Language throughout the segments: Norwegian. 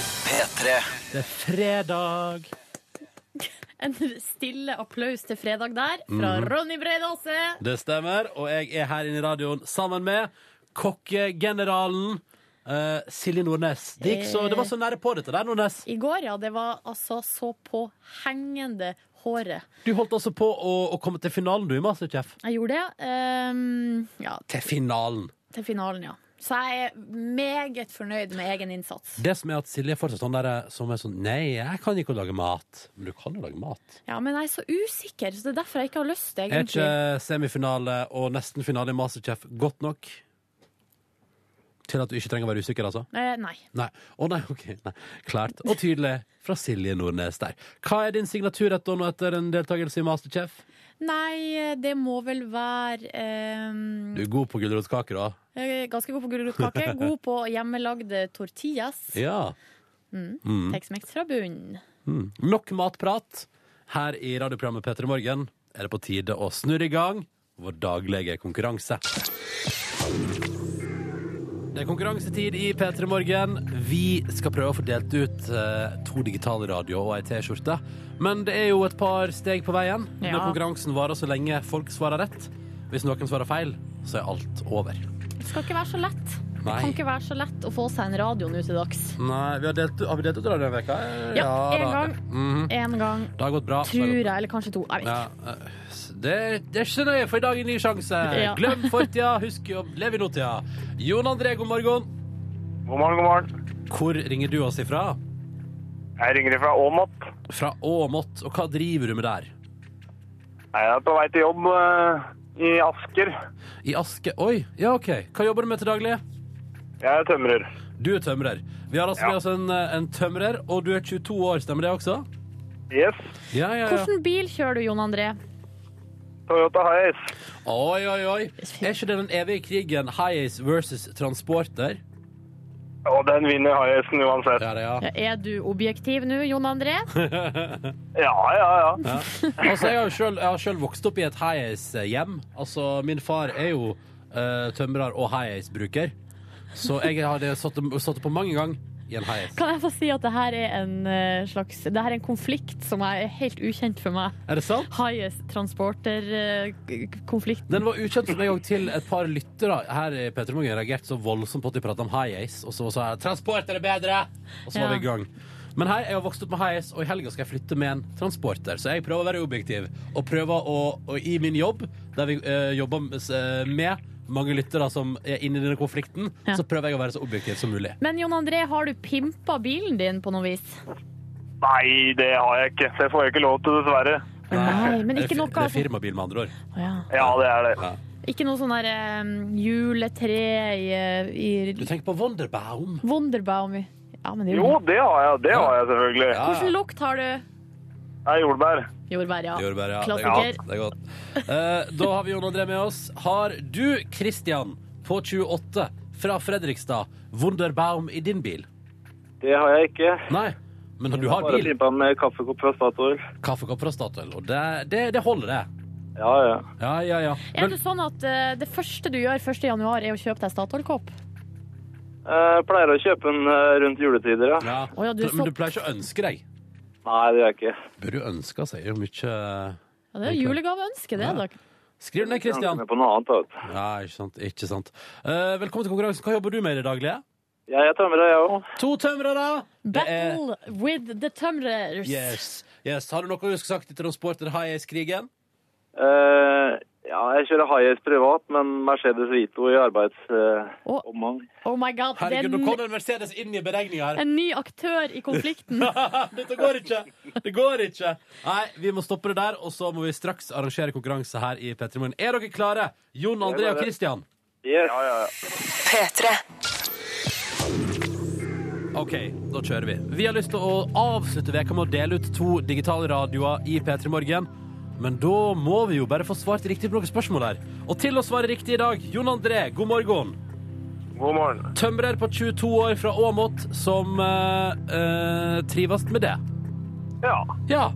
P3. Det er fredag. En stille applaus til fredag der, fra Ronny Brede Aase. Det stemmer. Og jeg er her inne i radioen sammen med kokkegeneralen eh, Silje Nordnes. Det, gikk så, det var så nære på dette der, Nordnes. I går, ja, det var altså så på hengende håret. Du holdt altså på å, å komme til finalen, du, i Masterchef. Jeg gjorde det. ehm, ja, Til finalen. til finalen, ja. Så jeg er meget fornøyd med egen innsats. Det som er at Silje er fortsatt sånn der eh, som er sånn Nei, jeg kan ikke lage mat. Men du kan jo lage mat. Ja, men jeg er så usikker, så det er derfor jeg ikke har lyst, Er egentlig. ikke eh, semifinale og nesten finale i Masterchef godt nok til at du ikke trenger å være usikker, altså? Eh, nei. Nei. Å nei, ok. Nei. Klart og tydelig fra Silje Nordnes der. Hva er din signaturrett da nå etter en deltakelse i Masterchef? Nei, det må vel være ehm, Du er god på gulrotkaker, da? eh, Ganske god på gulrotkake. God på hjemmelagde tortillas. Ja. Tex-Mex fra bunnen. Nok matprat her i radioprogrammet P3 Morgen. Er det på tide å snurre i gang vår daglige konkurranse. Det er konkurransetid i P3 Morgen. Vi skal prøve å få delt ut eh, to digitale radio og ei T-skjorte. Men det er jo et par steg på veien. Ja. Når konkurransen varer så lenge folk svarer rett. Hvis noen svarer feil, så er alt over. Det skal ikke være så lett. Det Nei. kan ikke være så lett å få seg en radio nå til dags. Nei, vi har, delt, har vi delt ut radio denne veka? Ja, en da. gang. Mhm. Én gang, Det har gått bra. Det har tror gått jeg, eller kanskje to. Jeg vet ikke. Ja, eh, det, det er ikke så nøye, for i dag er en ny sjanse. Ja. Glem fortida, husk å leve i nåtida. Jon André, god morgen. God morgen, god morgen. Hvor ringer du oss ifra? Jeg ringer fra Åmot. Fra Åmot. Og hva driver du med der? Jeg er på vei til jobb eh, i Asker. I Aske Oi, ja, OK. Hva jobber du med til daglig? Jeg er tømrer. Du er tømrer. Vi har altså Ja. med oss en, eh, en tømrer, og du er 22 år, stemmer det også? Yes. Ja, ja, ja. Hvilken bil kjører du, Jon André? Toyota Hiace. Oi, oi, oi. Er ikke det den evige krigen Highas versus Transporter? Og den vinner Hiacen uansett. Ja, det, ja. Er du objektiv nå, Jon André? Ja, ja, ja. Altså, jeg har jo selv, jeg har selv vokst opp i et high-ace-hjem. Altså, min far er jo eh, tømrer og high-ace-bruker. Så jeg hadde satt, satt på mange ganger i en high-ace. Kan jeg få si at det her er en eh, slags Det her er en konflikt som er helt ukjent for meg. Er det sant? Highest eh, transporter-konflikt. Den var ukjent for meg òg til et par lyttere her i P3 Morgen reagerte så voldsomt på at de pratet om high-ace, og så sa jeg 'transport er det bedre', og så var Ja. vi i gang. Men hei, jeg har vokst opp med high-ace, og i helga skal jeg flytte med en transporter. Så jeg prøver å være objektiv, og prøver å, å i min jobb, der vi eh, jobber med- med mange lyttere som er inne i denne konflikten, Ja. så prøver jeg å være så objektiv som mulig. Men Jon André, har du pimpa bilen din på noe vis? Nei, det har jeg ikke. Det får jeg ikke lov til, dessverre. Nei, men ikke det, er noe fi- det er altså- firmabil, med andre ord. Å, ja. Ja, det er det. Ikke noe sånn der eh, juletre i, eh, Du i tenker på Wonderbaum. Wonderbaum i Ja, men det er Jo, det har jeg. Det har jeg selvfølgelig. Ah, Ja, Hvilken lukt har du? Det er jordbær. Jordbær, ja. Jordbær, ja. Det er Klassiker. godt. Det er godt. Eh, da har vi Jon André med oss. Har du, Christian, på 28, fra Fredrikstad, Wunderbaum i din bil? Det har jeg ikke. Nei, men du har Bare bil. pimpa med kaffekopp fra Statoil. Kaffekopp fra Statoil, og det, det, det holder, det. Ja, ja. Ja, ja, ja. Er det sånn at eh, det første du gjør 1. januar, er å kjøpe deg Statoil-kopp? Jeg pleier å kjøpe den eh, rundt juletider, ja. ja. Å ja, du er Men du så- pleier ikke å ønske deg. Nei, det gjør jeg ikke. Bør jo ønske seg jo mye Ja, det er julegaveønske, det. Ja. da. Skriv ned, Jeg ønsker Christian. meg på noe annet, da, vet du. Ja, ikke sant. Ikke sant. Eh, velkommen til konkurransen. Hva jobber du med i det daglige? Jeg er tømrer, jeg òg. To tømrere! Det er- Battle with the tømrers. Yes. yes. Har du noe du skulle sagt til transporter Hayes-krigen? Eh, ja, jeg kjører Highas privat, men Mercedes Vito i eh, Å. arbeidsomgang. Oh my god, det er Herregud, nå kom en, det en Mercedes inn i beregninga her. en ny aktør i konflikten. Dette går ikke! Det går ikke! Nei, vi må stoppe det der, og så må vi straks arrangere konkurranse her i P3 Morgen. Er dere klare? Jon André og Christian. Yes. P3. OK, da kjører vi. Vi har lyst til å avslutte veka med å dele ut to digitale radioer i P3 Morgen. Men da må vi jo bare få svart riktig på noen spørsmål her. Og til å svare riktig i dag, Jon André, god morgen. God morgen. Tømrer på 22 år fra Åmot som eh, eh, trives med det. Ja. Ja.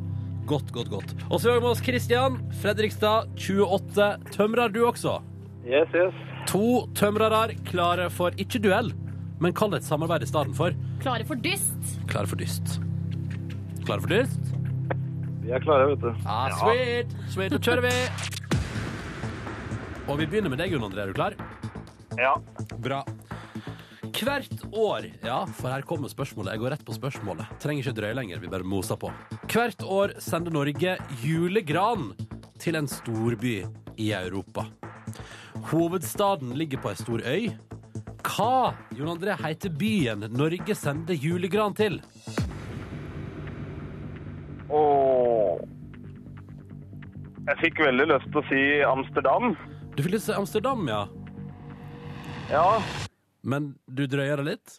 Godt, godt, godt. Og så har vi med oss Kristian Fredrikstad, 28. Tømrer du også. Yes, yes. To tømrere klare for ikke duell, men kall det et samarbeid i stedet for. Klare for dyst. Klar for dyst. Klar for dyst? Vi er klare, vet du. Ah, sweet! Sweet, da kjører vi! Og vi begynner med deg, Jon André. Er du klar? Ja. Bra. Hvert år Ja, for her kommer spørsmålet. Jeg går rett på spørsmålet. Trenger ikke drøye lenger. Vi bare moser på. Hvert år sender Norge julegran til en storby i Europa. Hovedstaden ligger på ei stor øy. Hva, Jon André, heter byen Norge sender julegran til? Åh. Jeg fikk veldig lyst til å si Amsterdam. Du fikk lyst til Amsterdam, ja. Ja. Men du drøyer det litt?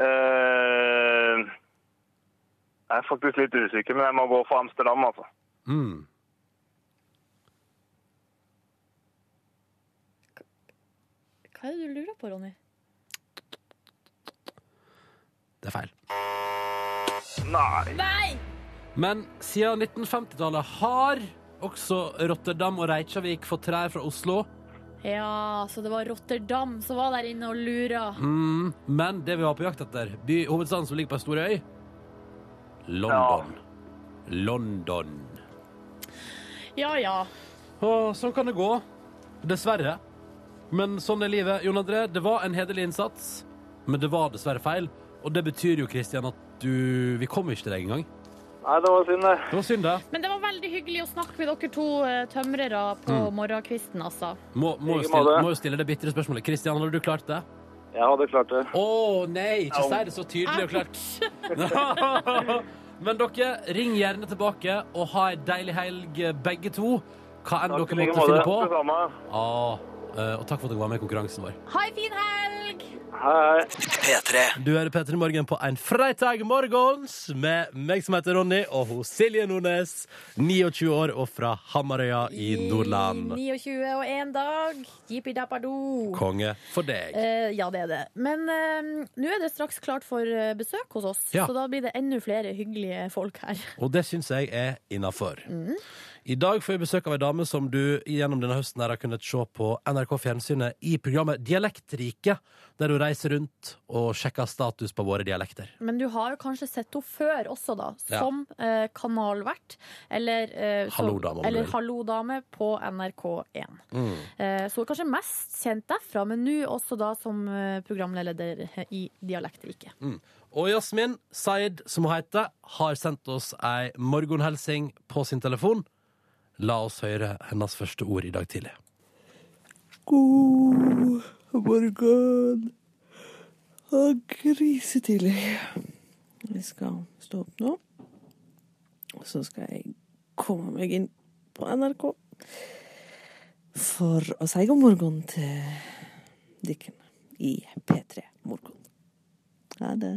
Eh, jeg er faktisk litt usikker, men jeg må gå for Amsterdam, altså. Mm. Hva er det du lurer på, Ronny? Det er feil. Nei. Nei! Men siden 1950-tallet har også Rotterdam og Reykjavik fått trær fra Oslo. Ja, så det var Rotterdam som var der inne og lura. Mm, men det vi var på jakt etter, by, hovedstaden som ligger på ei stor øy London. London. Ja ja. Og sånn kan det gå. Dessverre. Men sånn er livet. Jon André, det var en hederlig innsats, men det var dessverre feil. Og det betyr jo, Kristian, at du Vi kommer ikke til deg engang. Nei, det var synd, det. Det var synd, det. Men det var veldig hyggelig å snakke med dere to eh, tømrere på Mm. morgenkvisten, altså. Må, må, jo Like stille, måte. må jo stille det bitre spørsmålet. Kristian, hadde du klart det? Jeg hadde klart det. Å nei, ikke si det så tydelig og klart. Men dere, ring gjerne tilbake og ha ei deilig helg, eh, begge to. Hva enn Takk i dere like måtte finne måte. på. Det samme. Ah, eh, og takk for at dere var med i konkurransen vår. Ha ei fin helg! Hei. Du hører P3 Morgen på en fredag morgens med meg som heter Ronny, og hun Silje Nordnes, 29 år og fra Hamarøya i Nordland. 29 og én dag. Jippi-dappa-do. Konge for deg. Eh, ja, det er det. Men eh, nå er det straks klart for eh, besøk hos oss, Ja. så da blir det enda flere hyggelige folk her. Og det syns jeg er innafor. I dag får vi besøk av ei dame som du gjennom denne høsten her har kunnet se på NRK Fjernsynet i programmet Dialektriket, der hun reiser rundt og sjekker status på våre dialekter. Men du har jo kanskje sett henne før også, da. Ja. Som eh, kanalvert. Eller, eh, som- Hallo, dame, om du eller vil. Hallo dame på NRK1. Mm. Eh, så hun er kanskje mest kjent derfra, men nå også da som eh, programleder i Dialektriket. Mm. Og Jasmin Said, som hun heter, har sendt oss ei morgenhilsing på sin telefon. La oss høre hennes første ord i dag tidlig. God morgen. Og grisetidlig. Jeg skal stå opp nå. Og så skal jeg komme meg inn på NRK for å si god morgen til dykken i P3 Morgen. Ha det.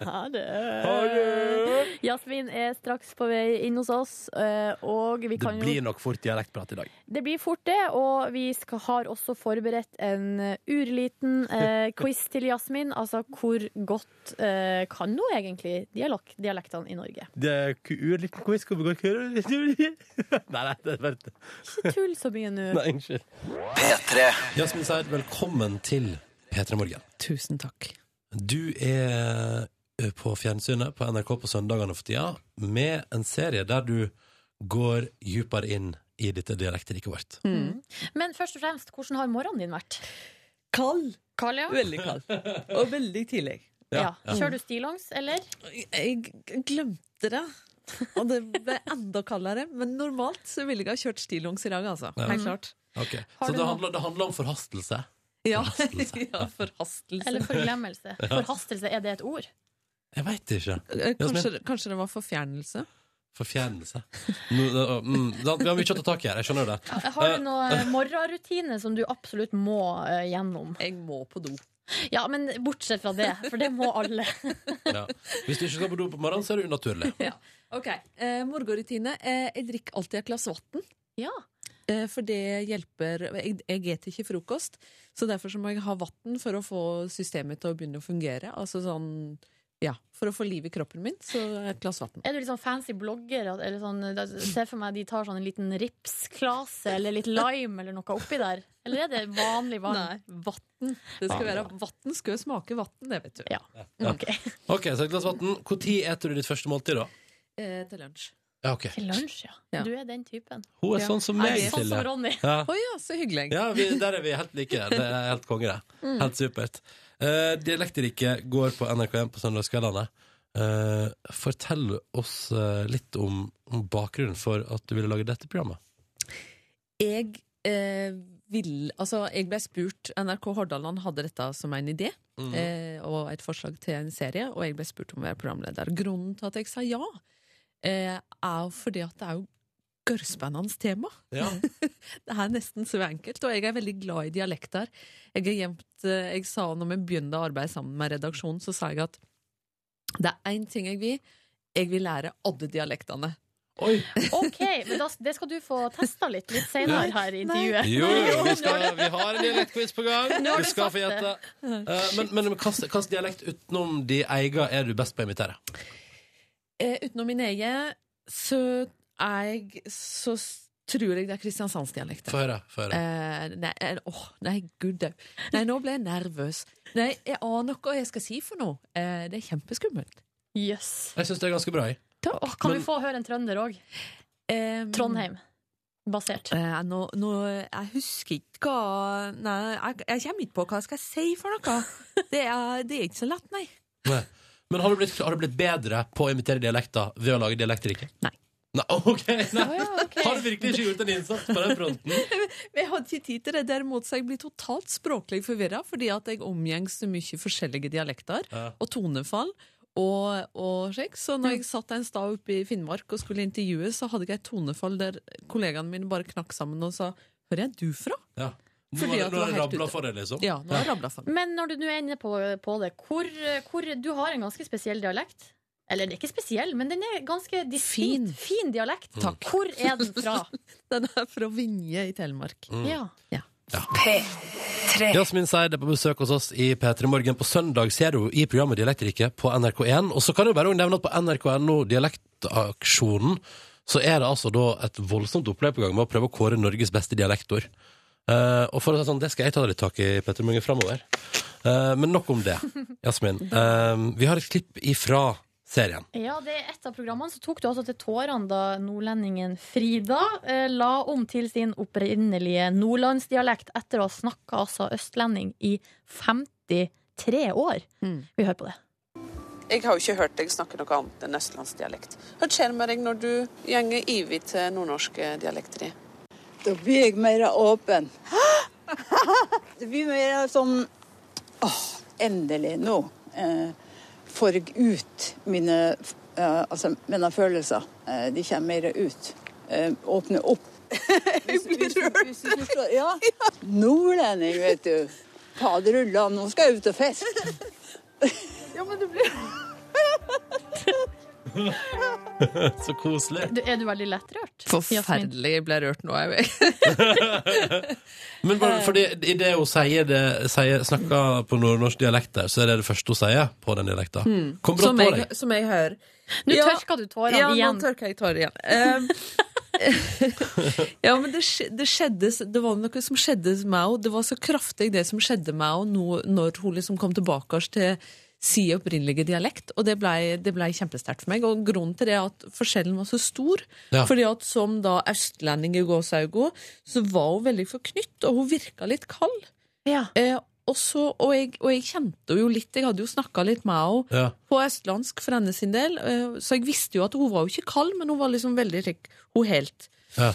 Ha det! Eh, Jasmin er straks på vei inn hos oss, eh, og vi Det kan jo blir nok fort dialektprat i dag. Det blir fort det, og vi skal, har også forberedt en eh, urliten eh, quiz til Jasmin. Altså, hvor godt eh, kan hun egentlig dialog, dialektene i Norge? Det er urliten quiz. Hvor godt hører du? Nei, nei, det er bare Ikke tull så mye nå. Nei, unnskyld. Jasmin Seid, velkommen til P3 Morgen. Tusen takk. Du er ø, på fjernsynet på NRK på søndagene for tida med en serie der du går dypere inn i dette dialektriket vårt. Mm. Men først og fremst, hvordan har morgenen din vært? Kald. Karl, ja? Veldig kald. Og veldig tidlig. ja. Kjører du stillongs, eller? Jeg g- glemte det. Og det ble enda kaldere. Men normalt så ville jeg ha kjørt stillongs i dag, altså. Ja. Helt klart. Ok, Har Så du det noe- handler, det handler om forhastelse. Ja, Forhastelse. ja forhastelse. Eller forglemmelse? Forhastelse, er det et ord? Jeg veit ikke. Eh, Jasmin? Kanskje, kanskje det var forfjernelse? Forfjernelse. Nå, det, å, mm, sant, vi har mye å ta tak i her, jeg skjønner det. Eh, Har du noen morgenrutine som du absolutt må eh, gjennom? Jeg må på do. Ja, men bortsett fra det, for det må alle. Ja. Hvis du ikke skal på do på morgenen, så er det unaturlig. Ok, eh, Morgenrutine. Eh, jeg drikker alltid et glass vann. Ja. Eh, for det hjelper Jeg, jeg eter ikke frokost, så derfor så må jeg ha vann for å få systemet til å begynne å fungere. Altså sånn Ja, For å få liv i kroppen min, så et glass vann. Er du litt sånn fancy blogger? at- Eller sånn, da- se for meg de tar sånn en liten ripsklase eller litt lime eller noe oppi der. Eller er det vanlig vann? Nei, vann. Det skal være vann. Skal jo smake vann, det, vet du. Ja. Ok. Ok, så et glass vann. Når spiser du ditt første måltid, da? Eh, til lunsj. Ja, ok. Til lunsj, ja. Ja. Du er den typen. Hun er Ja. sånn som Er meg, det sånn som Silje. Ronny. Ja. Å ja, så hyggelig. Ja, vi, der er vi helt like. Det er helt konge, det. Helt supert. Uh, Dialekteriket går på NRK1 på søndagskveldene. Eh, fortell oss eh, litt om, om bakgrunnen for at du ville lage dette programmet. jeg eh, vil, altså, jeg ble spurt NRK Hordaland hadde dette som en idé Mm. eh, og et forslag til en serie, og jeg ble spurt om å være programleder. Grunnen til at jeg sa ja, eh, er jo fordi at det er jo gørrspennende tema. Ja. Det er nesten så enkelt, og jeg er veldig glad i dialekter. Jeg, har gjemt, eh, jeg sa når vi begynte arbeid sammen med redaksjonen, så sa jeg at det er én ting jeg vil. Jeg vil lære Odde-dialektene. Oi! Ok, men da, det skal du få testa litt litt senere her i intervjuet. Jo, jo, vi, skal, vi har en dialektquiz på gang. Nå har Vi du skal sagt få gjette. Eh, men men hvilken dialekt utenom de eiga er du best på å imitere? Eh, utenom min egen, så er jeg Så s- tror jeg det er kristiansandsdialekten. Få høre. Få høre. Eh, nei, eh, åh, nei, gud au. Nei, nå ble jeg nervøs. Nei, jeg aner ikke hva jeg skal si for noe. Eh, det er kjempeskummelt. Yes. Jeg syns det er ganske bra. jeg. Åh, kan Men- vi få høre en trønder òg? Eh, Trondheim-basert. Eh, nå, nå, jeg husker ikke hva Nei, jeg, jeg kommer ikke på hva jeg skal si for noe. Det er, det er ikke så lett, nei. Nei. Men har du, blitt, har du blitt bedre på å imitere dialekter ved å lage Dialektriket? Nei. Nei, ok, nei. Å ja, ok. Har du virkelig ikke gjort en innsats på den fronten? Men Jeg hadde ikke tid til det. Derimot så jeg blir totalt språklig forvirra fordi at jeg omgjengs så mye forskjellige dialekter. Ja. og tonefall og, og slik. Så når jeg satt en stad oppe i Finnmark og skulle intervjue, så hadde jeg et tonefall der kollegaene mine bare knakk sammen og sa 'Hvor er du fra?' Ja. Nå Fordi er nå at det var er det helt rabla ute. for deg, liksom. Ja, nå har jeg rabla sammen. Men når du nå er inne på, på det, hvor, hvor Du har en ganske spesiell dialekt. Eller den er ikke spesiell, men den er ganske distinkt. Fin, dialekt. Takk. Hvor er den fra? Den er fra Vinje i Telemark. Mm. Ja. Jasmin Seid er på besøk hos oss i P3 Morgen. På søndag ser du i programmet Dialektriket på NRK1. Og så kan jeg bare nevne at på nrk.no Dialektaksjonen så er det altså da et voldsomt opplegg på gang med å prøve å kåre Norges beste dialektord. Eh, og for å si det sånn, det skal jeg ta litt tak i, Petter Munge, framover. Eh, men nok om det, Jasmin. Eh, vi har et klipp ifra serien. ja, det er et av programmene. Så tok du altså til tårene da nordlendingen Frida eh, la om til sin opprinnelige nordlandsdialekt etter å ha snakka altså østlending i 53 år. Mm. Vi hører på det. Jeg har jo ikke hørt deg snakke noe annet enn østlandsdialekt. Hva skjer med deg når du gjenger ivig til eh, nordnorske dialekter di? Da blir jeg mer åpen. Det blir mer sånn Åh, endelig nå eh, får jeg ut mine, eh, altså, mine følelser. Eh, de kommer mer ut. Eh, åpner opp. Jeg blir rørt. Ja. Nordlending, vet du. Faderullan, nå skal jeg ut og feste. Ja, men det blir Så koselig. Du, er du veldig lettrørt? Jasmin? Forferdelig ble jeg rørt nå, jeg. Men bare fordi i det hun sier, det, sier snakker på nordnorsk dialekt der, så er det det første hun sier på den dialekta. Kom brått Hmm. Som på jeg, deg. som jeg hører. Nå Ja. tørka du tårene ja, igjen. nå tørker jeg tårer igjen. Eh, ja, men det, skj- det skjedde s- Det var noe som skjedde med henne. Det var så kraftig, det som skjedde med henne nå- når hun liksom kom tilbake til sin opprinnelige dialekt. Og det blei det ble kjempesterkt for meg. Og grunnen til det er at forskjellen var så stor. Ja. Fordi at som da østlending i gåsaugo, så var hun veldig forknytt, og hun virka litt kald. Ja. Eh, og, så, og, jeg, og jeg kjente henne jo litt. Jeg hadde jo snakka litt med henne Ja. på østlandsk for henne sin del, eh, så jeg visste jo at hun var jo ikke kald, men hun var liksom veldig slik, hun helt. Ja.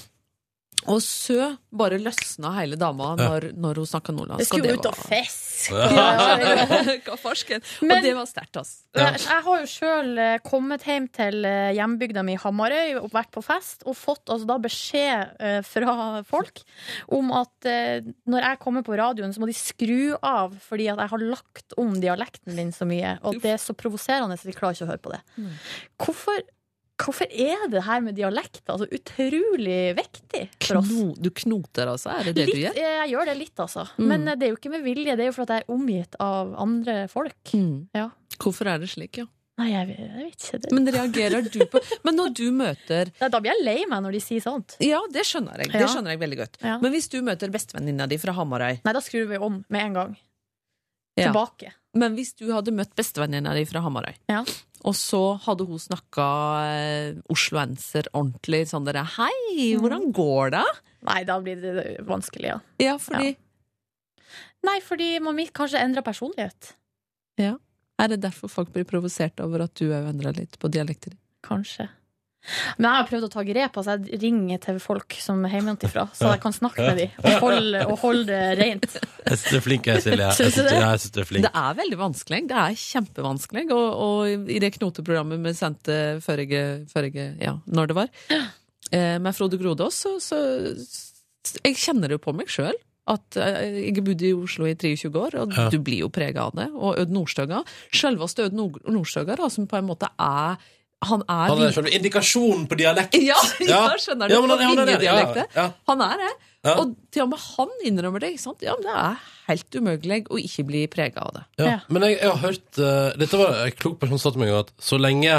Og så bare løsna hele dama når, når hun snakka Jeg nordlandsk. og skulle det ut og var- fiske! Hva farsken? Men- og det var sterkt, altså. Ja. Jeg, jeg har jo sjøl kommet hjem til eh, hjembygda mi Hamarøy og vært på fest og fått altså, da beskjed eh, fra folk om at eh, når jeg kommer på radioen, så må de skru av fordi at jeg har lagt Mm. om dialekten min så mye. Og det er så provoserende, så de klarer ikke å høre på det. Hvorfor Hvorfor er det her med dialekter så utrolig viktig for oss? Kno, du knoter, altså? Er det det du Litt, gjør? eh, jeg gjør det litt, altså. Mm. Men eh, det er jo ikke med vilje. Det er jo fordi jeg er omgitt av andre folk. Mm. Ja. Hvorfor er det slik, ja? Nei, jeg, vet- jeg vet ikke. Det. Men reagerer du på Men når du møter Nei, Da blir jeg lei meg når de sier sånt. Ja, det skjønner jeg. Det Ja. skjønner jeg veldig godt. Ja. Men hvis du møter bestevenninna di fra Hamarøy Nei, da skrur vi om med en gang. Ja. Tilbake. Men hvis du hadde møtt bestevenninna di fra Hamarøy, Ja. og så hadde hun snakka eh, osloenser ordentlig sånn dere Hei, hvordan går det? Nei, da blir det vanskelig, ja. Ja, fordi Nei, fordi man vil kanskje endrer personlighet. Er det derfor folk blir provosert over at du òg endra litt på dialekter? Kanskje. Men jeg har prøvd å ta grep. Altså jeg ringer til folk som er hjemmefra, så jeg kan snakke med dem og holde, og holde det rent. Jeg syns du er flink, jeg, Silje. Jeg Synes synes du det? ja, jeg synes du er flink. Det er veldig vanskelig. Det er kjempevanskelig. Og, og i det knoteprogrammet vi sendte førre, førre Ja, når det var, eh, med Frode Grodås, så, så s- Jeg kjenner det jo på meg sjøl. At eh, Jeg bodde i Oslo i 23 år, og Ja. du blir jo prega av det. Og Aud Nordstoga. Selveste Aud Nord- Nordstoga, da, som på en måte er Han er, Han er selve indikasjonen på dialekt. Ja, ja, Ja. skjønner du? Ja, men på han, han er det. Ja, Vinjedialektet. ja. Han er det. Ja. Og til og med han innrømmer det. ikke sant? Ja, men Det er helt umulig å ikke bli prega av det. Ja. Ja. Men jeg, jeg har hørt eh, Dette var en klok person som sa til meg at så lenge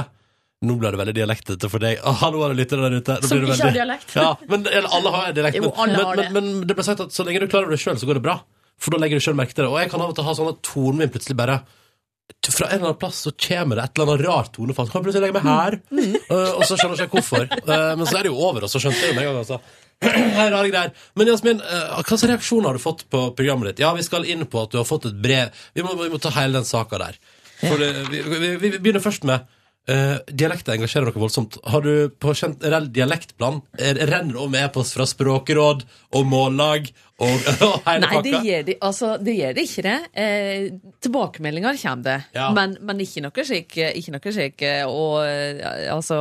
Nå ble det veldig dialektete for deg. Ah, hallo, alle lyttere der ute. Nå Som blir det ikke har veldig- dialekt. Ja, men eller, alle har dialekt. Jo, Men, alle har men, det. men, men det ble sagt at så lenge du klarer det sjøl, så går det bra. For da legger du sjøl merke til det. Og jeg kan av og til ha sånn at tonen min plutselig bare fra en eller annen plass så kommer det et eller annet rart tonefall. Så kan jeg plutselig legge meg her, Mm. Eh, og så skjønner jeg ikke hvorfor. Eh, men så er det jo over, og så skjønte jeg det med en gang. Altså. Her er rare greier. Men Jasmin, eh, hva slags reaksjoner har du fått på programmet ditt? Ja, vi skal inn på at du har fått et brev. Vi må, vi må ta hele den saka der. For det, vi, vi, vi begynner først med uh, dialekter engasjerer dere voldsomt. Har du på generell dialektplan eh, renner det om e-post fra språkråd og mållag og, og hele Nei, det pakka? gjør det, altså, det gjør det ikke. det. Eh, tilbakemeldinger kommer det, Ja. men, men ikke noe slik. Ikke noe slik eh, og, eh, altså,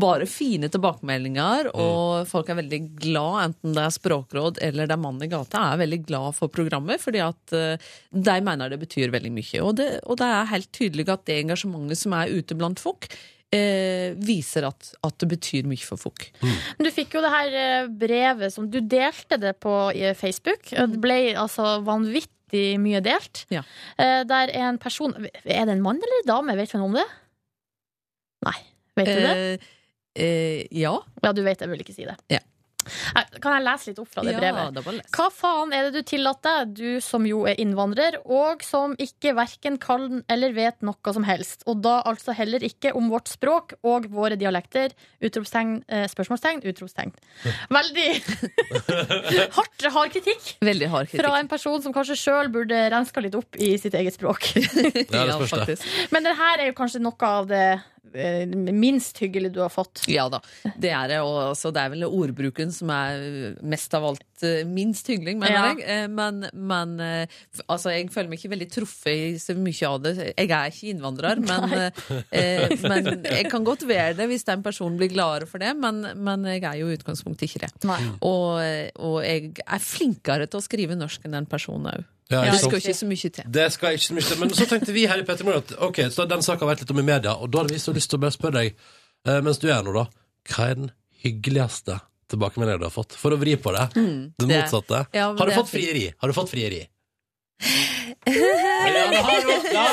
bare fine tilbakemeldinger, og folk er veldig glad, enten det er språkråd eller det er mann i gata, er veldig glad for programmet, fordi at eh, de mener det betyr veldig mye. Og det, og det er helt tydelig at det engasjementet som er ute blant folk, eh, viser at, at det betyr mye for folk. Men du fikk jo det her eh, brevet som Du delte det på eh, Facebook. og Det ble altså vanvittig mye delt. Mm. Ja. Eh, Der en person Er det en mann eller en dame? Vet du noe om det? Nei. Vet du det? Eh, eh, ja. Ja, du vet jeg vil ikke si det. Ja. Eh, Kan jeg lese litt opp fra det brevet? Ja, da bare les. Hva faen er det du tillater deg, du som jo er innvandrer, og som ikke verken kan eller vet noe som helst, og da altså heller ikke om vårt språk og våre dialekter? Utropstegn, eh, spørsmålstegn, utropstegn. Veldig hardt, hard kritikk Veldig hard kritikk. fra en person som kanskje sjøl burde renska litt opp i sitt eget språk. Ja, det spørs det. faktisk. Men det her er jo kanskje noe av det eh, minst hyggelige du har fått. Ja da, det er det. Og også, det er vel ordbruken som er øh, mest av alt øh, minst hyggelig, mener Ja. jeg. Eh, Men, men øh, f- altså, jeg føler meg ikke veldig truffet i så mye av det. Jeg er ikke innvandrer, men, eh, men jeg kan godt være det hvis den personen blir gladere for det, men, men jeg er jo i utgangspunktet ikke det. Nei. Og, og jeg er flinkere til å skrive norsk enn den personen òg. Ja, Det ikke sant? skal ikke så mye til. Det skal jeg ikke så mye til. Men så tenkte vi her i Petter Morgen at ok, så den saken har vært litt om i media, og da hadde vi så lyst til å bare spørre deg, eh, mens du er her nå, da, hva er den hyggeligste tilbakemeldingen du har fått? For å vri på det. det det- motsatte. Ja, men har du det er fått fint. frieri? Har du fått frieri? ja, det har du. Ja.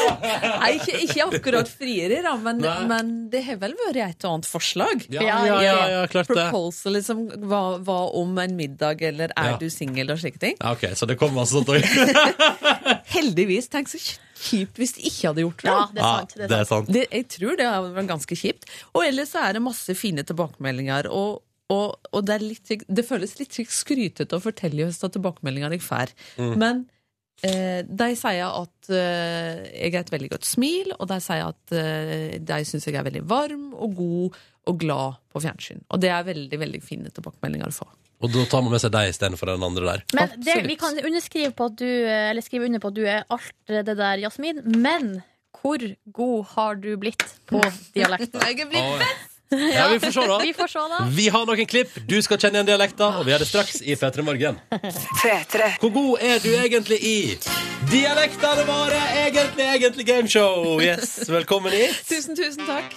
Nei, ikke, ikke akkurat friere, da, men, Nei. men det har vel vært et og annet forslag. Ja, ja, ja, ja, klart det. Proposal liksom, hva, hva om en middag, eller er Ja. du singel, og slike ting. Ja, ok, så det kom altså, masse sånt også. Heldigvis. Tenk så kjipt hvis de ikke hadde gjort det. Ja, det er sant. Det er sant. det er sant. Det, jeg tror det var ganske kjipt. Og ellers så er det masse fine tilbakemeldinger. Og, og, og det, er litt, det føles litt skrytete å fortelle oss av tilbakemeldinger jeg får. Men eh, de sier at eh, jeg har et veldig godt smil, og de sier at eh, de syns jeg er veldig varm og god og glad på fjernsyn. Og det er veldig, veldig fine tilbakemeldinger å få. Og da tar man med seg deg istedenfor den andre der. Men Absolutt. det, vi kan underskrive på at du Eller skrive under på at du er alt det der, Jasmin. Men hvor god har du blitt på dialekt? Ja, vi får se, da. Vi får se, da. Vi har noen klipp, du skal kjenne igjen dialekta, og vi er det straks i P3 Morgen. Hvor god er du egentlig i dialektene våre? Egentlig, egentlig gameshow. Yes, velkommen hit. Tusen, tusen takk!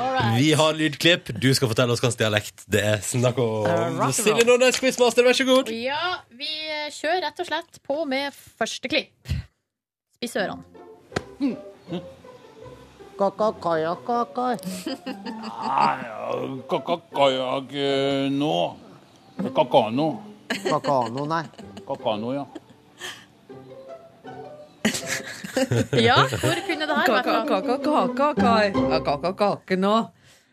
All right. Vi har lydklipp. Du skal fortelle oss hvilken dialekt det er snakk om. roll. Silje Nordnes, quizmaster, vær så god. Ja, vi eh, kjører rett og slett på med første klipp. Spiss ørene. Kakakajak eh, nå. Kakano. Kakano, nei. Kakano, ja. Ja, hvor kunne det her vært? fra? Kaka-kaka-kake nå.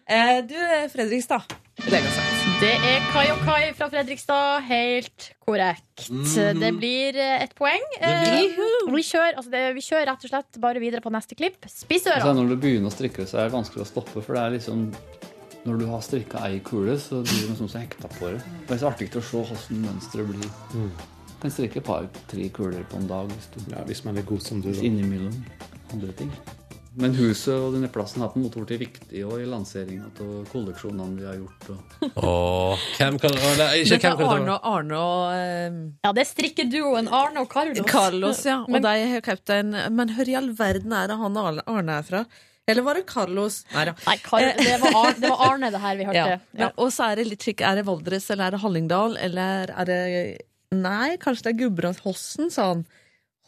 Eh, Du, Fredrikstad. Det er ganske sant. Det er Kai og Kai fra Fredrikstad. Helt korrekt. Det blir eh, et poeng. Eh, Vi kjører, altså det, vi kjører rett og slett bare videre på neste klipp. Spiss Så ørene. når du begynner å strikke, så er det vanskelig å stoppe. For det er liksom Når du har strikka ei kule, så blir det noe som er hekta på det. Det er så artig å se hvordan mønsteret blir. Kan strikke Mm. et par-tre kuler på en dag hvis du Ja, hvis man er god som du. da. innimellom andre ting. Men huset og denne plassen har på en måte blitt viktig og i lanseringa av kolleksjonene vi har gjort. Og Åh, hvem kan Eller ikke Dette hvem er kan Arne og Arne og Ja, det er strikkeduoen Arne og eh, Carlos. Carlos, ja. Og Men- de har kjøpt en Men hør i all verden er det han Arne Arne er fra? Eller var det Carlos? Nei da. Nei, Kar det, var Arne, det var Arne det her vi hørte. Eh. Ja. Ja. Men, og så er det litt skikk. Er det Valdres, eller er det Hallingdal, eller er det Nei, kanskje det er Gudbrandshossen, sa han.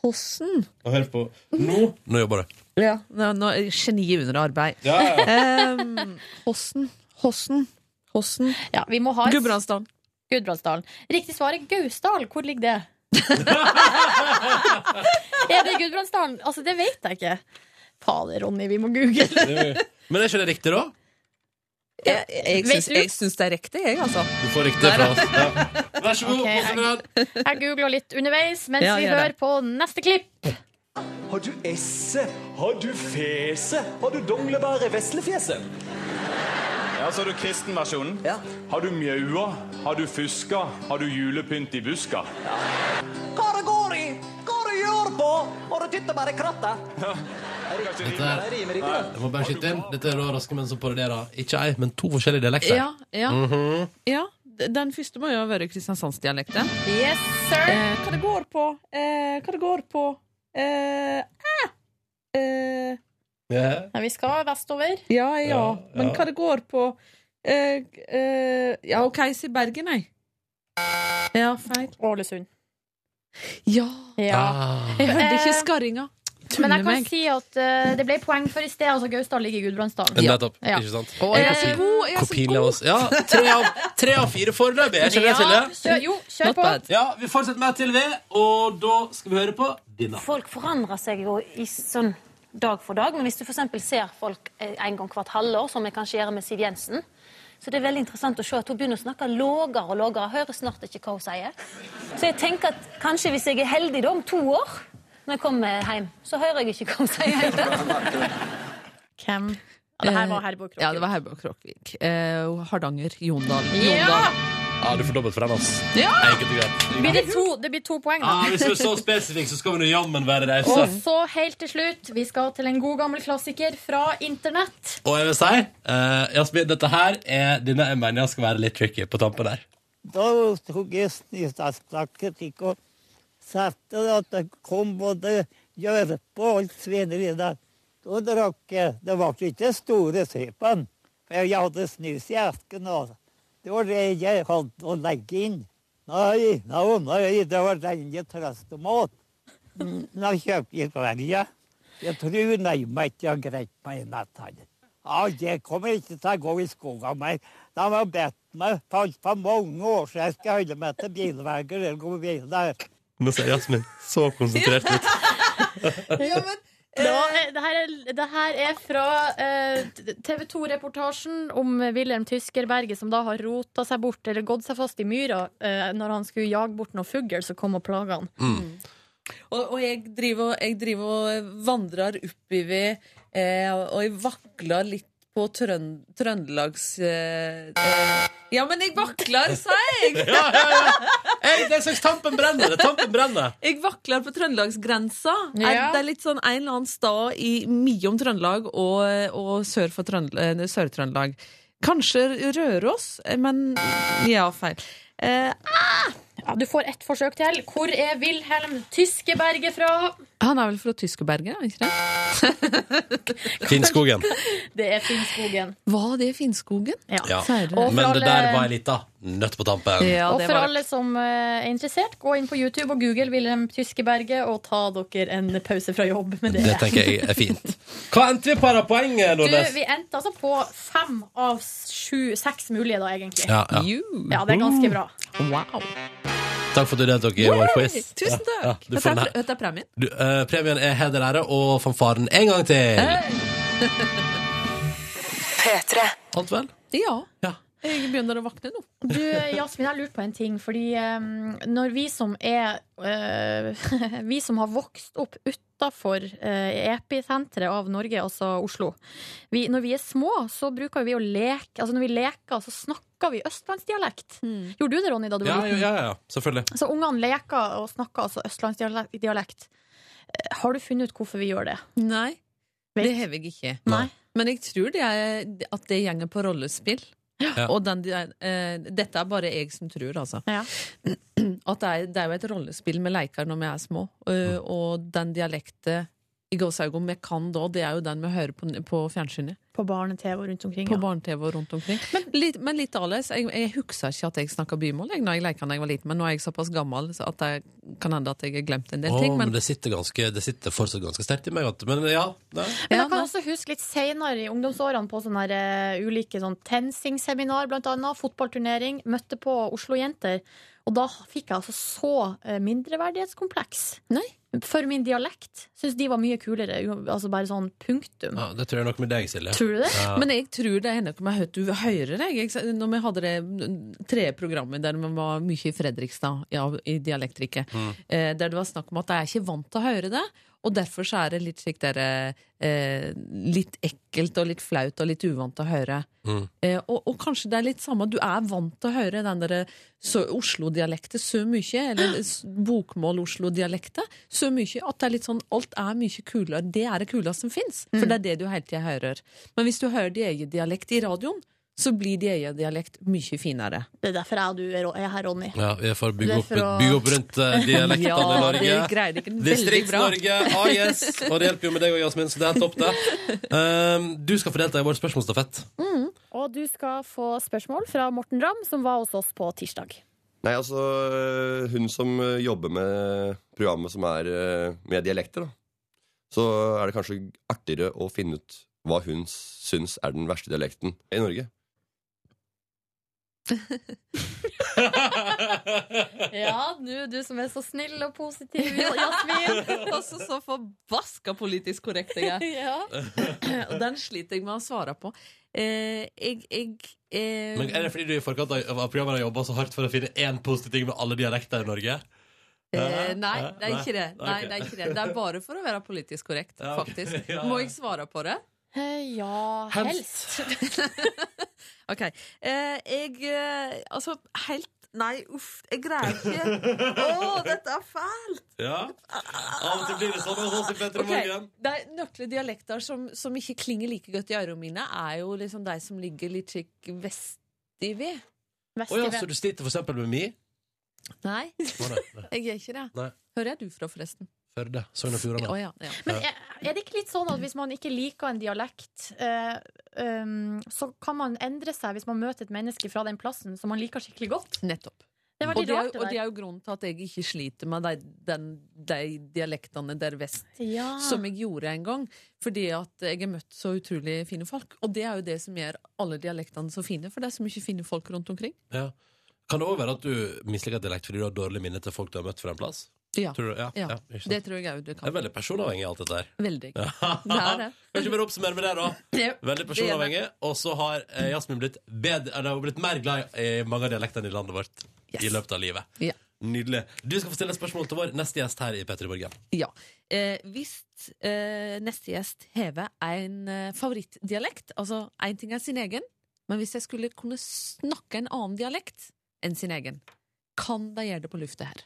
Hossen? Og hør på. Nå Nå jobber det. Ja. Nå, nå, er geniet under arbeid. Ja, ja. Ehm, Hossen. Hossen. Hossen. Ja, vi må ha et Gudbrandsdalen. Gudbrandsdalen. Riktig svar er Gausdal. Hvor ligger det? er det Gudbrandsdalen? Altså, det vet jeg ikke. Fader, Ronny, vi må google. Det er jo- Men er ikke det riktig, da? Jeg, jeg, Vet syns, du? jeg syns det er riktig, jeg, altså. Du får riktig fra oss. Ja. Vær så god. Ok, jeg- Rosengrad. Jeg googler litt underveis mens Ja, vi gjør hører det. på neste klipp. har du esset? Har du feset? Har du donglebæret veslefjeset? Ja, så har du kristenversjonen. Ja. Har du mjaua? Har du fuska? Har du julepynt i buska? Hva det går i? Hva det gjør på? Må du titte bare i krattet? Dette, rimer ikke, det. jeg må bare skyte inn. Dette er da Raske menn som parodierer ikke ei, men to forskjellige dialekter. Mhm. Ja, ja, ja. Den første må jo ha vært kristiansandsdialekten. Yes, sir. Eh, hva det går på? Eh, hva det går på? Eh, æ. eh, Ja. Ja, vi skal vestover. ja, ja. Ja, Men ja. hva det går på? Eh, eh, ja, OK, si Bergen, jeg. Ja, feil. Ålesund. Ja. Ja. Ah. Jeg hørte ikke Eh, skarringa. Men Tuller jeg kan meg. si at eh, det ble poeng for i sted. Altså, Gausdal ligger i Gudbrandsdalen. Nettopp. Ja. Ikke sant? Å, jeg er Kopi- så god! Jeg er så Kopien god. av oss. Ja, tre av, tre av fire foreløpig. Er ikke det, Silje? kjør, jo, kjør Not på. bad. Ja, vi fortsetter med til ved, og da skal vi høre på denne. Folk forandrer seg jo i sånn dag for dag, men hvis du for eksempel ser folk eh, en gang hvert halvår, som jeg kanskje gjør med Siv Jensen, så det er veldig interessant å se at hun begynner å snakke lågere og lågere. Hører snart ikke hva hun sier. Så jeg tenker at kanskje hvis jeg er heldig da, om to år, når jeg kommer hjem, så hører jeg ikke hva hun sier. Hvem? Ja, det her var Herborg Krokk. Eh, Ja, det var Herborg Kråkvik. Eh, Hardanger. Jondal. Ja! Jondal. Ja, du får dobbelt for den, ass. Ja! Enkelt og greit. Blir det, to, det blir to poeng, Ja, da. hvis du er så spesifikk, så skal vi nå jammen være rause. Og så helt til slutt, vi skal til en god gammel klassiker fra internett. Og jeg vil si, eh, Jasmin, dette her er denne jeg mener jeg skal være litt tricky på tampen der. Da tok jeg snøstasplaket, ikke og satte det at det kom både gjørpe og alt svineri der. Da drakk jeg. Det var ikke store søpen, for jeg hadde snus i esken. Og det var det jeg hadde å legge inn. Nei, nei, nei, det var rene trøstemat. Nå kjøpte jeg Sverige. Jeg tror nærmere ikke jeg har greit meg i netthandel. Ja, jeg kommer ikke til å gå i skogen mer. De har bedt meg for, for mange år siden jeg skal holde meg til bilveier eller gå bil der. Nå ser Jasmin så konsentrert ut. Ja, men Det, var, det, her, er, det her er fra eh, TV 2-reportasjen om Wilhelm Tyskerberget som da har rota seg bort, eller gått seg fast i myra, eh, når han skulle jage bort noen fugl som kom og plaga han. Og, og jeg driver og jeg driver og vandrer oppover, eh, og jeg vakler litt på trøn, Trøndelags eh, eh, Ja, men jeg vakler, sa jeg! Ja, ja, ja. Hey, det er slags tampen brenner. Det er tampen brenner. Jeg vakler på trøndelagsgrensa. Ja. Er- Det er litt sånn en eller annen stad i mellom Trøndelag og, og sør for Trøndel- eh, Sør-Trøndelag. Kanskje Røros, eh, men Ja, feil. Eh, Ja, du får ett forsøk til. Hvor er Wilhelm Tyskeberget fra? Han er vel fra Tyskerberget, er han ikke det? Finnskogen. Det er Finnskogen. Var det Finnskogen? Ja. Særlig. Men det der var ei lita nøtt på tampen. og for alle som eh, er interessert, gå inn på YouTube og google Wilhelm Tyskeberget og ta dere en pause fra jobb med det. Det tenker jeg er fint. Hva endte vi på av poenget, Du, Nordnes? vi endte altså på fem av sju, seks mulige, da, egentlig. Ja, ja. Ja, det er ganske bra. Wow. Takk for at du deltok i vår quiz. Tusen takk. Ja, du får Dette den er, her. dette er premien. Du, eh, premien er heder, ære og fanfaren en gang til. Eh. Alt vel? Ja. Ja. Jeg begynner å våkne nå. Mm. Du, eh, Jasmin, jeg lurte på en ting. Fordi eh, når vi som er eh, Vi som har vokst opp utafor episenteret av Norge, altså Oslo vi, Når vi er små, så bruker vi å leke Altså når vi leker, så snakker vi østlandsdialekt. Gjorde du det, Ronny, da du Ja, var ja, liten? ja, ja, selvfølgelig. Så Altså, ungene leker og snakker altså østlandsdialekt. Eh, Har du funnet ut hvorfor vi gjør det? Nei, det har jeg ikke. Nei. Men jeg tror det er, at det gjenger på rollespill. Ja. Og den, eh, dette er bare jeg som tror, altså. Ja. At det er, det er jo et rollespill med leker når vi er små, eh, Mm. og den dialekten i gåseøynene vi kan da, det er jo den vi hører på, på fjernsynet. På barne-TV og rundt omkring. På Ja. barne-TV og rundt omkring. Men litt, men litt annerledes. Jeg, jeg husker ikke at jeg snakka bymål jeg, når jeg leka da jeg var liten, men nå er jeg såpass gammel så at det kan hende at jeg har glemt en del Å, ting. men Men, det sitter, ganske, det sitter fortsatt ganske sterkt i meg. vet du. Men ja, det. Men Ja, jeg kan nei. også huske litt senere i ungdomsårene på sånne her, eh, ulike sånn TenSing-seminar, blant annet. Fotballturnering. Møtte på Oslo-jenter. Og da fikk jeg altså så eh, mindreverdighetskompleks. Nei. For min dialekt. Syns de var mye kulere. u- Altså bare sånn punktum. Ja, det tror jeg er noe med deg, Silje. Tror du det? Ja. men jeg tror det er noe med høyt du hører deg. ikke sant? Når vi hadde det tredje programmet der vi var mye i Fredrikstad, ja, i dialektriket, eh, der det var snakk om at jeg er ikke vant til å høre det, og derfor så er det litt slik der eh, Litt ekkelt og litt flaut og litt uvant å høre. Mm. Eh, og, og kanskje det er litt samme, du er vant til å høre den derre så- Oslo-dialektet så mye, eller s- bokmål-Oslo-dialektet så mye, at det er litt sånn alt er mye kulere. Det er det kuleste som fins, for det er det du hele tida hører. Men hvis du hører din egen dialekt i radioen, så blir din egen dialekt mye finere. Det er derfor jeg og du er er her, Ronny. Ja, vi får Det bygge er opp, for å- bygge opp rundt eh, dialektene i Ja, Norge. det greide ikke den veldig bra. Distrikts-Norge, ah yes! Og det hjelper jo med deg og Jasmin, så det er topp, det. Um, du skal få delta i vår spørsmålsstafett. Og du skal få spørsmål fra Morten Ramm, som var hos oss på tirsdag. Nei, altså øh, Hun som øh, jobber med programmet som er øh, med dialekter, da. Så er det kanskje artigere å finne ut hva hun syns er den verste dialekten i Norge. Ja, nå du som er så snill og positiv, Jasmin. Altså, så forbaska politisk korrekt jeg er. Ja. Og den sliter jeg med å svare på. Eh, jeg jeg eh, Men Er det fordi du i forkant av av programmet har jobba så hardt for å finne én positiv ting med alle dialekter i Norge? Eh, nei, det er Nei? ikke det. Nei, Ok. det er ikke det. Det er bare for å være politisk korrekt, Ja, ok. faktisk. Ja, ja. Må jeg svare på det? Eh, Ja, helst. Ok. Eh, jeg eh, Altså, helt Nei, uff, jeg greier ikke. Å, dette er fælt! Ja. Av og til blir det sånn hos oss i Petter Ok, Morgen. Det er Nøkle dialekter som, som ikke klinger like godt i ørene mine, er jo liksom de som ligger litt slik vestig ved. Å ja, så du sliter for eksempel med mi? Nei, Å, nei, nei. jeg gjør ikke det. Nei. Hvor er du fra, forresten? Førde. Sogn og Å Fjordane. ja, ja. Men er, er det ikke litt sånn at hvis man ikke liker en dialekt, eh, um, så kan man endre seg hvis man møter et menneske fra den plassen som man liker skikkelig godt? Nettopp. Det er Og veldig det, er, rart, jo- og det det der. er jo grunnen til at jeg ikke sliter med de, den, de dialektene der vest Ja. Ah. som jeg gjorde en gang, fordi at jeg har møtt så utrolig fine folk. Og det er jo det som gjør alle dialektene så fine, for det er så mye fine folk rundt omkring. Ja. Kan det òg være at du misliker dialekt fordi du har dårlig minne til folk du har møtt fra en plass? Ja, Tror du? Ja, Ja, ja. ikke sant? Det tror jeg òg du Det kan. er veldig personavhengig, alt dette her. Veldig. Det er det. Kan ikke bare oppsummere med det, da? Jo, Veldig personavhengig. Og så har eh, Jasmin blitt, bedre, eller, hun har blitt mer glad i eh, mange av dialektene i landet vårt Yes. i løpet av livet. Ja. Nydelig. Du skal få stille et spørsmål til vår neste gjest her i P3 Morgen. Ja. Eh, hvis eh, neste gjest hever en eh, favorittdialekt, altså én ting er sin egen, men hvis jeg skulle kunne snakke en annen dialekt enn sin egen, kan de gjøre det på lufta her?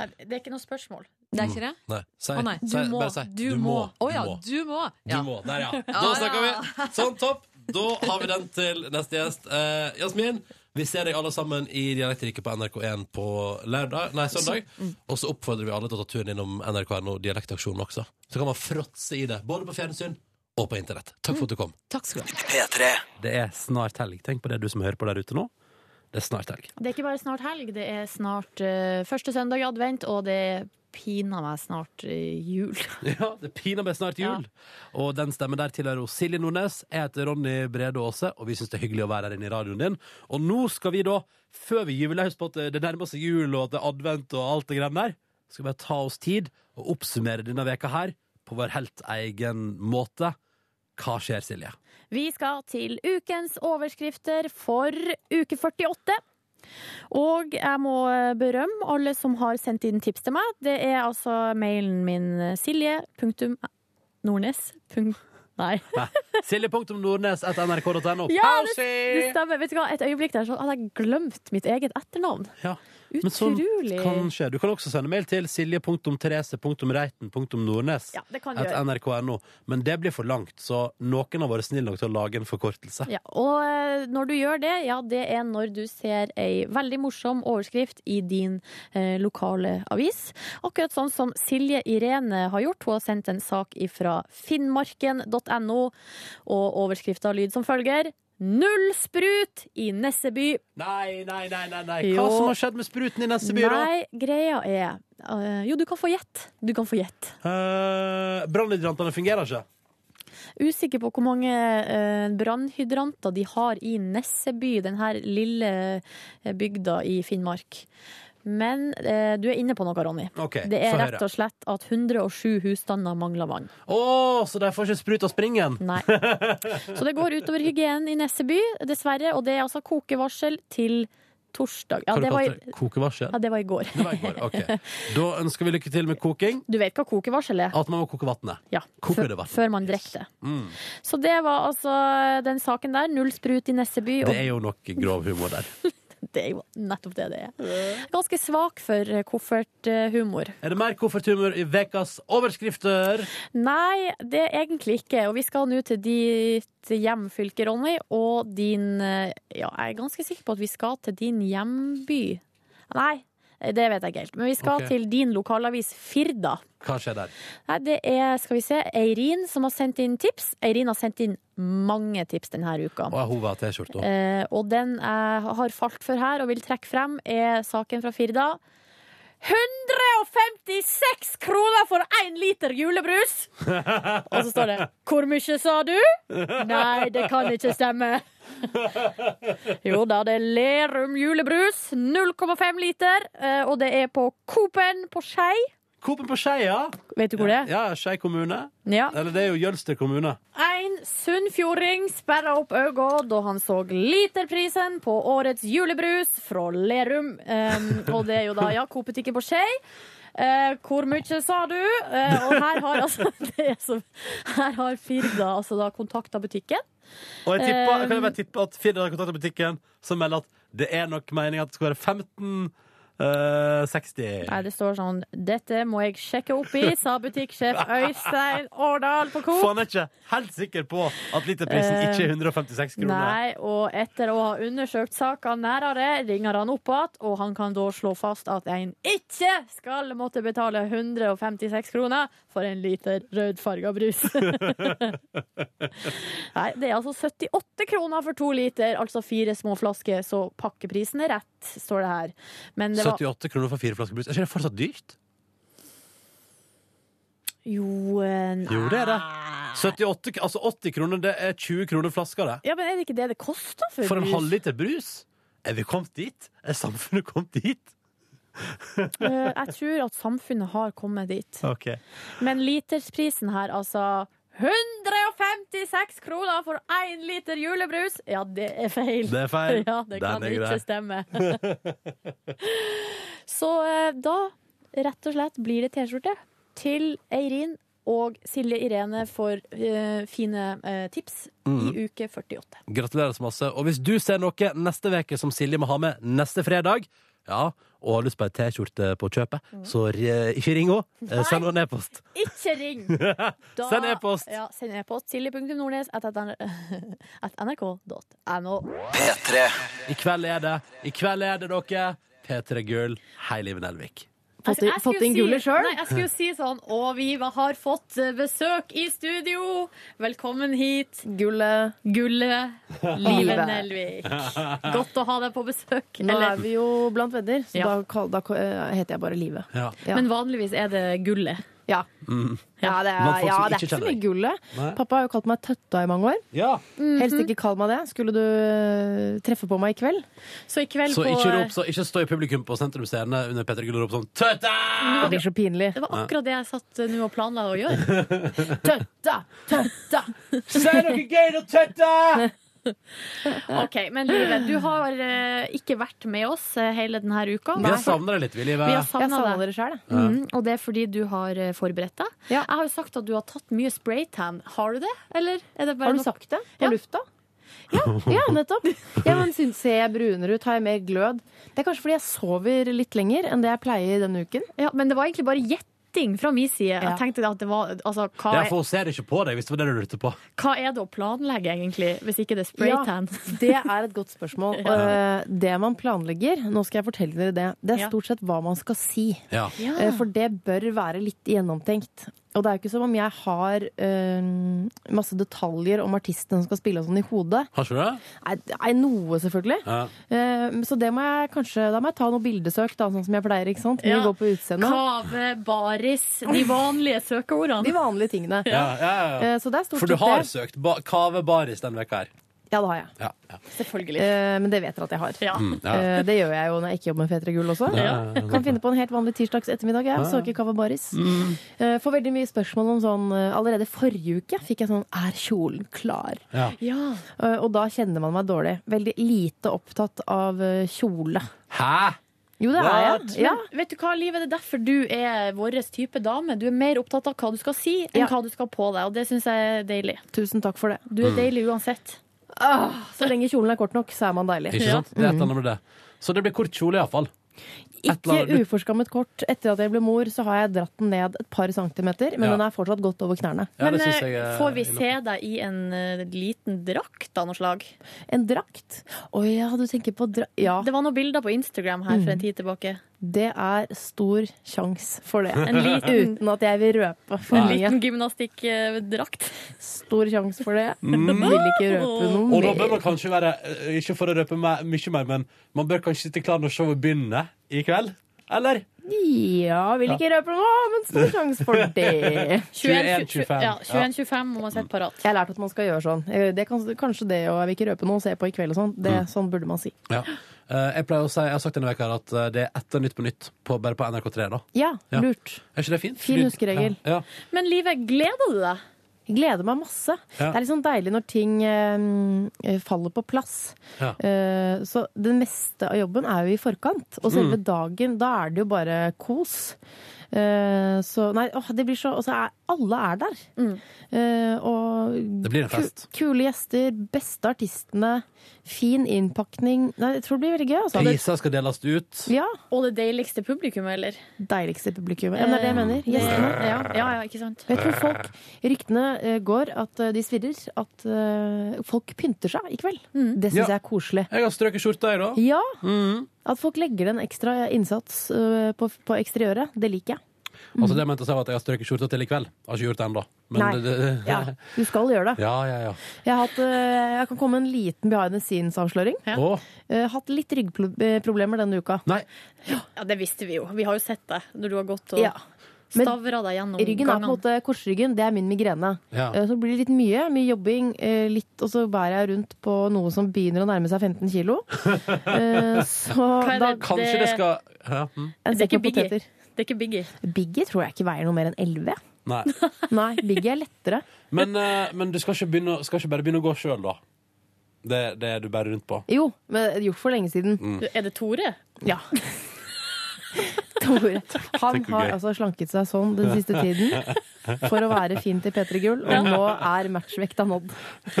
Nei, Det er ikke noe spørsmål. Det er ikke det? Mm. Nei, si, Å, nei. si Du må. bare si. Du må. Å ja, du må. Du Ja. må. Der, ja. Da Ja, snakker vi. ja. Sånn, topp. Da har vi den til neste gjest. Eh, Jasmin, Vi ser deg alle sammen i Dialektriket på NRK1 på lørdag, nei, søndag. Så- mm. Og så oppfordrer vi alle til å ta turen innom NRK.no Dialektaksjonen også. Så kan man fråtse i det, både på fjernsyn og på internett. Takk for at du kom. Takk skal du ha. P3. Det er snart helg. Tenk på det, du som hører på der ute nå. Det er snart helg. Det er ikke bare snart helg, det er snart eh, første søndag i advent, og det er pina meg snart eh, jul. Ja, det piner meg snart jul. Og den stemmen der tilhører hos Silje Nordnes. Jeg heter Ronny Brede Aase, og vi syns det er hyggelig å være her inne i radioen din. Og nå skal vi da, før vi gyver løs på at det nærmer seg jul og at det er advent og alt det greiene der, skal vi bare ta oss tid og oppsummere denne veka her på vår helt egen måte. Hva skjer, Silje? Vi skal til ukens overskrifter for uke 48. Og jeg må berømme alle som har sendt inn tips til meg. Det er altså mailen min silje.nordnes. Nei. Silje.nordnes.nrk.no. Ja, det, det stemmer. Vet du hva, Et øyeblikk der så hadde jeg glemt mitt eget etternavn. Ja, Men sånn Utrolig. kan skje. Du kan også sende mail til silje.therese.reiten.nordnes Ja, det kan du at gjøre. nrk.no. Men det blir for langt, så noen har vært snille nok til å lage en forkortelse. Ja, og eh, når du gjør det, ja, det er når du ser ei veldig morsom overskrift i din eh, lokale avis. Akkurat sånn som Silje Irene har gjort. Hun har sendt en sak fra finnmarken.no, og overskrifta lyd som følger. Null sprut i Nesseby. Nei, nei, nei, nei, nei. Jo. Hva som har skjedd med spruten i neste by, da? Nei, greia er eh, Jo, du kan få gjett. Du kan få gjett. Uh, Brannhydrantene fungerer ikke. Usikker på hvor mange eh, brannhydranter de har i Nesseby, denne lille eh, bygda i Finnmark. Men eh, du er inne på noe, Ronny. Ok, det er få høre. rett og slett at 107 husstander mangler vann. Å, så de får ikke sprut av springen? Nei. Så det går utover hygienen i Nesseby, dessverre. Og det er altså kokevarsel til torsdag. Ja, Hva det du var i, kalte det? Kokevarsel? ja, det var i går. Det var i går, ok. Da ønsker vi lykke til med koking. Du vet hva kokevarsel er? At man må koke vannet. Ja, Koker det før, vann. før man drikker det. Mm. Så det var altså den saken der. Null sprut i Nesseby. Det og- er jo nok grov humor der. Det er jo nettopp det det er. Ganske svak for eh, kofferthumor. Er det mer kofferthumor i ukas overskrifter? Nei, det er egentlig ikke. Og vi skal nå til ditt hjemfylke, Ronny, og din eh, Ja, jeg er ganske sikker på at vi skal til din hjemby. Nei, det vet jeg ikke helt. Men vi skal Ok. til din lokalavis Firda. Hva skjer der? Nei, det er, skal vi se, Eirin som har sendt inn tips. Eirin har sendt inn mange tips denne uka. Å, hun var T-skjorta. Eh, og den jeg har falt for her og vil trekke frem, er saken fra Firda. 156 kroner for én liter julebrus! Og så står det 'Hvor mye sa du?' Nei, det kan ikke stemme. Jo da, det er Lerum julebrus. 0,5 liter. eh, Og det er på Coop-en på Skei. Coop-en på Skei, ja. Vet du hvor det er? Ja, Skei kommune. Ja. Eller det er jo Jølster kommune. En sunnfjording sperra opp øynene da han så literprisen på årets julebrus fra Lerum. Ehm, og det er jo da ja, Coop-butikken på Skei. Eh, hvor mye sa du? Eh, og her har altså det er så, Her har Firda altså da kontakta butikken. Og jeg tipper, Eh, kan jeg bare tippe at Firda har kontaktet butikken, som melder at det er nok meningen at det skal være 15 eh, 60. Nei, det står sånn Dette må jeg sjekke opp i, sa butikksjef Øystein Årdal på Coop. Faen jeg er ikke helt sikker på at literprisen Eh, ikke er 156 kroner. Nei, og etter å ha undersøkt saka nærere, ringer han opp igjen, og han kan da slå fast at en ikke skal måtte betale 156 kroner for en liter rødfarga brus. Nei, det er altså 78 kroner for to liter, altså fire små flasker, så pakkeprisen er rett, står det her. Men det var 78 kroner for fire flasker brus. Er ikke det fortsatt dyrt? Jo, eh, nei. Jo, det er det. Ah. 78, k- altså 80 kroner, det er 20 kroner flaska, det. Ja, men er det ikke det det koster for, For en brus? halvliter brus? Er vi kommet dit? Er samfunnet kommet dit? Eh, Jeg tror at samfunnet har kommet dit. OK. Men litersprisen her, altså 156 kroner for én liter julebrus! Ja, det er feil. Det er feil. Ja, det Den kan er grei. ikke stemme. Så eh, da, rett og slett, blir det T-skjorte til Eirin og Silje Irene for eh, fine eh, tips i Mhm. uke 48. Gratulerer så masse. Og hvis du ser noe neste veke som Silje må ha med neste fredag, ja, og har lyst på ei T-skjorte på kjøpet, så eh, ikke ring henne. Eh, Send henne en e-post. Ikke ring! Da- Send e-post. Ja, send e-post silje.nordnes.nrk.no. P3. I kveld er det. I kveld er det dere. P3 Gull. Hei, Liven Elvik. Fått, Altså, Jeg skulle fått inn gullet si- sjøl? Nei, jeg skulle si sånn Og vi har fått eh, besøk i studio! Velkommen hit. Gullet. Gullet. Live Livet. Nelvik. Godt å ha deg på besøk. Nå eller- er vi jo blant venner, så Ja. da, kall- da eh, heter jeg bare Live. Ja. Men vanligvis er det Gullet. Ja. Mm. Ja, det er, Blant folk ja, som det er ikke ikke så kjenner mye gullet. Nei. Pappa har jo kalt meg Tøtta i mange år. Ja. Helst ikke kall meg det. Skulle du eh, treffe på meg i kveld? Så i kveld eh, Så ikke, rop, så ikke stå i publikum på Sentrum Scene under P3 Gull og rop sånn Tøtta! Det blir så pinlig. Det var akkurat det jeg satt eh, nå og planla å gjøre. Tøtta! Tøtta! Si noe gøy, da, tøtta! OK, men Live, du har eh, ikke vært med oss eh, hele denne uka. Vi har savna deg litt, vi, Live. Vi har savnet Jeg savnet deg. dere selv, jeg. Ja. Mm, og det er fordi du har eh, forberedt deg. Jeg har jo sagt at du har tatt mye spraytan. Har du det? Eller er det bare Har du nok- sagt det på lufta? Ja, nettopp. Ja, men syns- Ser jeg brunere ut? Har jeg mer glød? Det er kanskje fordi jeg sover litt lenger enn det jeg pleier denne uken. Ja, men det var egentlig bare gjetting fra min side. Jeg tenkte at det var altså, hva, Ja, er, for hun ser ikke på deg, hvis det var det du lurte på. hva er det å planlegge, egentlig, hvis ikke det er Ja, spraytan? det er et godt spørsmål. Eh, Det man planlegger, nå skal jeg fortelle dere det, det er Ja. stort sett hva man skal si. Ja. Ja. Eh, For det bør være litt gjennomtenkt. Og det er jo ikke som om jeg har eh, masse detaljer om artistene som skal spille og sånn i hodet. Har ikke du det? Nei, nei, noe, selvfølgelig. Ja. Eh, Så det må jeg kanskje Da må jeg ta noe bildesøk, da, sånn som jeg pleier. ikke sant? Mye Ja. går på utseendet. Kave, baris, de vanlige søkeordene. De vanlige tingene. Ja, ja, ja. Eh, Så det er stort For du sett har det. søkt ba Kave Baris denne veka her. Ja, det har jeg. Eh, Ja, ja. Selvfølgelig. men det vet dere at jeg har. Mm, ja. Eh, det gjør jeg jo når jeg ikke jobber med Fetere gull også. Ja, ja, ja. Kan finne på en helt vanlig tirsdags ettermiddag. Jeg Ja. Mm. søker Kava Baris. Eh, får veldig mye spørsmål om sånn eh, Allerede forrige uke fikk jeg sånn Er kjolen klar? Ja. Eh, og da kjenner man meg dårlig. Veldig lite opptatt av eh, kjole. Hæ? Jo, det er jeg. Ja. Men vet du hva, Liv, det er derfor du er vår type dame. Du er mer opptatt av hva du skal si, enn Ja. hva du skal ha på deg. Og det syns jeg er deilig. Tusen takk for det. Du Mm. er deilig uansett. Ah, så lenge kjolen er kort nok, så er man deilig. Ikke sant? Det er et eller annet med det. Så det blir kort kjole, iallfall. Ikke uforskammet kort. Etter at jeg ble mor, så har jeg dratt den ned et par centimeter, men Ja. den er fortsatt godt over knærne. Ja, det Men synes jeg eh, er får vi innenfor. se deg i en eh, liten drakt av noe slag? En drakt? Å ja, du tenker på dra... Ja. Mm. Det var noen bilder på Instagram her for en tid tilbake. Det er stor sjanse for det. En liten- Uten at jeg vil røpe for En mye. liten gymnastikkdrakt. Stor sjanse for det. Mm. Vil ikke røpe Og da noe bør man mer. kanskje være eh, Ikke for å røpe meg- mye mer, men man bør kanskje sitte klar når showet begynner i kveld? Eller? Ja, vil ikke røpe noe, men stor sjanse for det. 21, 21-25. Ja, 21-25 må man sette parat. Jeg har lært at man skal gjøre sånn. Eh, Det kan, kanskje det og jeg vil ikke røpe noe, se på i kveld og sånn. Det, Mm. sånn burde man si. Ja. Eh, Jeg pleier å si, jeg har sagt denne veka her at eh, det er etter Nytt på Nytt, på, bare på NRK3. da Ja, Ja. lurt. Er ikke det fint? Fin Lyd- huskeregel. Ja. Men livet, gleder du deg? Gleder meg masse. Ja. Det er litt sånn deilig når ting eh, faller på plass. Ja. Eh, så det meste av jobben er jo i forkant. Og selve Mm. dagen, da er det jo bare kos. Eh, så Nei, åh, det blir så Og så er alle er der. Eh, og Det blir en fest. Ku, kule gjester, beste artistene, fin innpakning. Nei, jeg tror det blir veldig gøy, altså. Priser skal deles ut. Ja. Og det deiligste publikummet, eller? Eh, Deiligste publikummet. Ja, men det er det jeg mener. Gjestene. Ja, ja, ja, ikke sant? Jeg tror folk, Ryktene eh, går at eh, de svirrer. At eh, folk pynter seg i kveld. Det syns Ja. jeg er koselig. Jeg har strøket skjorta, jeg, da. Ja, Mhm. At folk legger en ekstra innsats eh, på, på eksteriøret. Det liker jeg. Altså det jeg mente å si var at jeg har strøket skjorta til i kveld. Jeg har ikke gjort det ennå. Men Mm. Nei. det, det, Ja, du skal gjøre det. ja, ja, ja. Jeg, har hatt, eh, jeg kan komme med en liten behind the scenes-avsløring. Å. Eh, hatt litt ryggproblemer denne uka. Nei. Ja, det visste vi jo. Vi har jo sett deg når du har gått og Ja. Men stavra deg gjennom Ryggen er på en gangene. måte korsryggen. Det er min migrene. Ja. Eh, Så blir det litt mye. Mye jobbing. eh, Litt, og så bærer jeg rundt på noe som begynner å nærme seg 15 kilo. Eh, Så Hva er da det- Kanskje det, skal ja. mhm. Det er En sekk ikke med Biggie. poteter. Det er ikke Biggie. Biggie tror jeg ikke veier noe mer enn 11. Nei. Nei, Biggie er lettere. Men, eh, men du skal ikke, begynne, å- skal ikke bare begynne å gå sjøl, da? Det, det er du bærer rundt på. Jo, men gjort for lenge siden. Mm. Er det Tore? Ja. Tore. Han Tenk hvor har gøy. altså slanket seg sånn den siste tiden. for å være fin til P3 Gull, og nå er matchvekta nådd.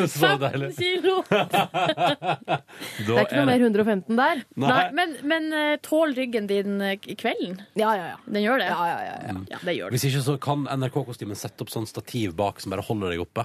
Så deilig. Kilo! Det er ikke noe mer 115 der. Nei. men, men eh, tål ryggen din eh, i kvelden? Ja, ja, ja. Den gjør det? Ja, ja, ja. det gjør Hvis ikke så kan NRK-kostymen sette opp sånn stativ bak som bare holder deg oppe.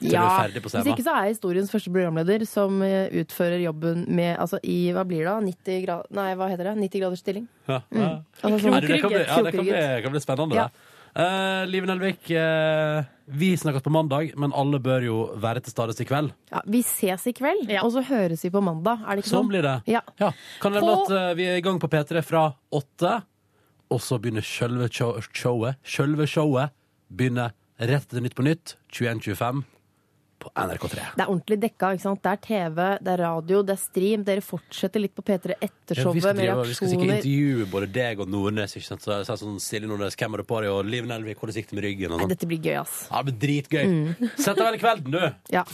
Til du er Ja, ferdig på Hvis scenen. ikke så er jeg historiens første programleder som eh, utfører jobben med altså i hva blir det da? 90 grad, nei, hva heter det? 90 graders stilling. Ja. Mm. Ja. Altså sånn Nei, du, det kan bli, ja, det kan krokrygget. bli, kan bli spennende, Ja. det. Eh, Liv Nelvik, eh, vi snakkes på mandag, men alle bør jo være til stades i kveld. Ja, vi ses i kveld, og så høres vi på mandag. Er det ikke Sånn blir det. Ja. Kan det På- hende at eh, vi er i gang på P3 fra åtte, og så begynner sjølve show- showet. Sjølve showet begynner rett etter Nytt på Nytt, 21.25, på NRK3. Det er ordentlig dekka. ikke sant? Det er TV, det er radio, det er stream. Dere fortsetter litt på P3 etter Ja, vi, skal showet med drive, vi skal sikkert reaksjoner. intervjue både deg og Nordnes. Ikke sant? Så jeg sa sånn, Silje Nordnes, hvem er det på deg? Og Liv Nelvik, hvordan gikk det med ryggen? Og Nei, Mm. sånn. dette blir gøy, ass. Ja, det blir dritgøy. Sett deg vel i kvelden, du. Ja.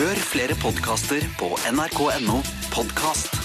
Hør flere podkaster på nrk.no podkast.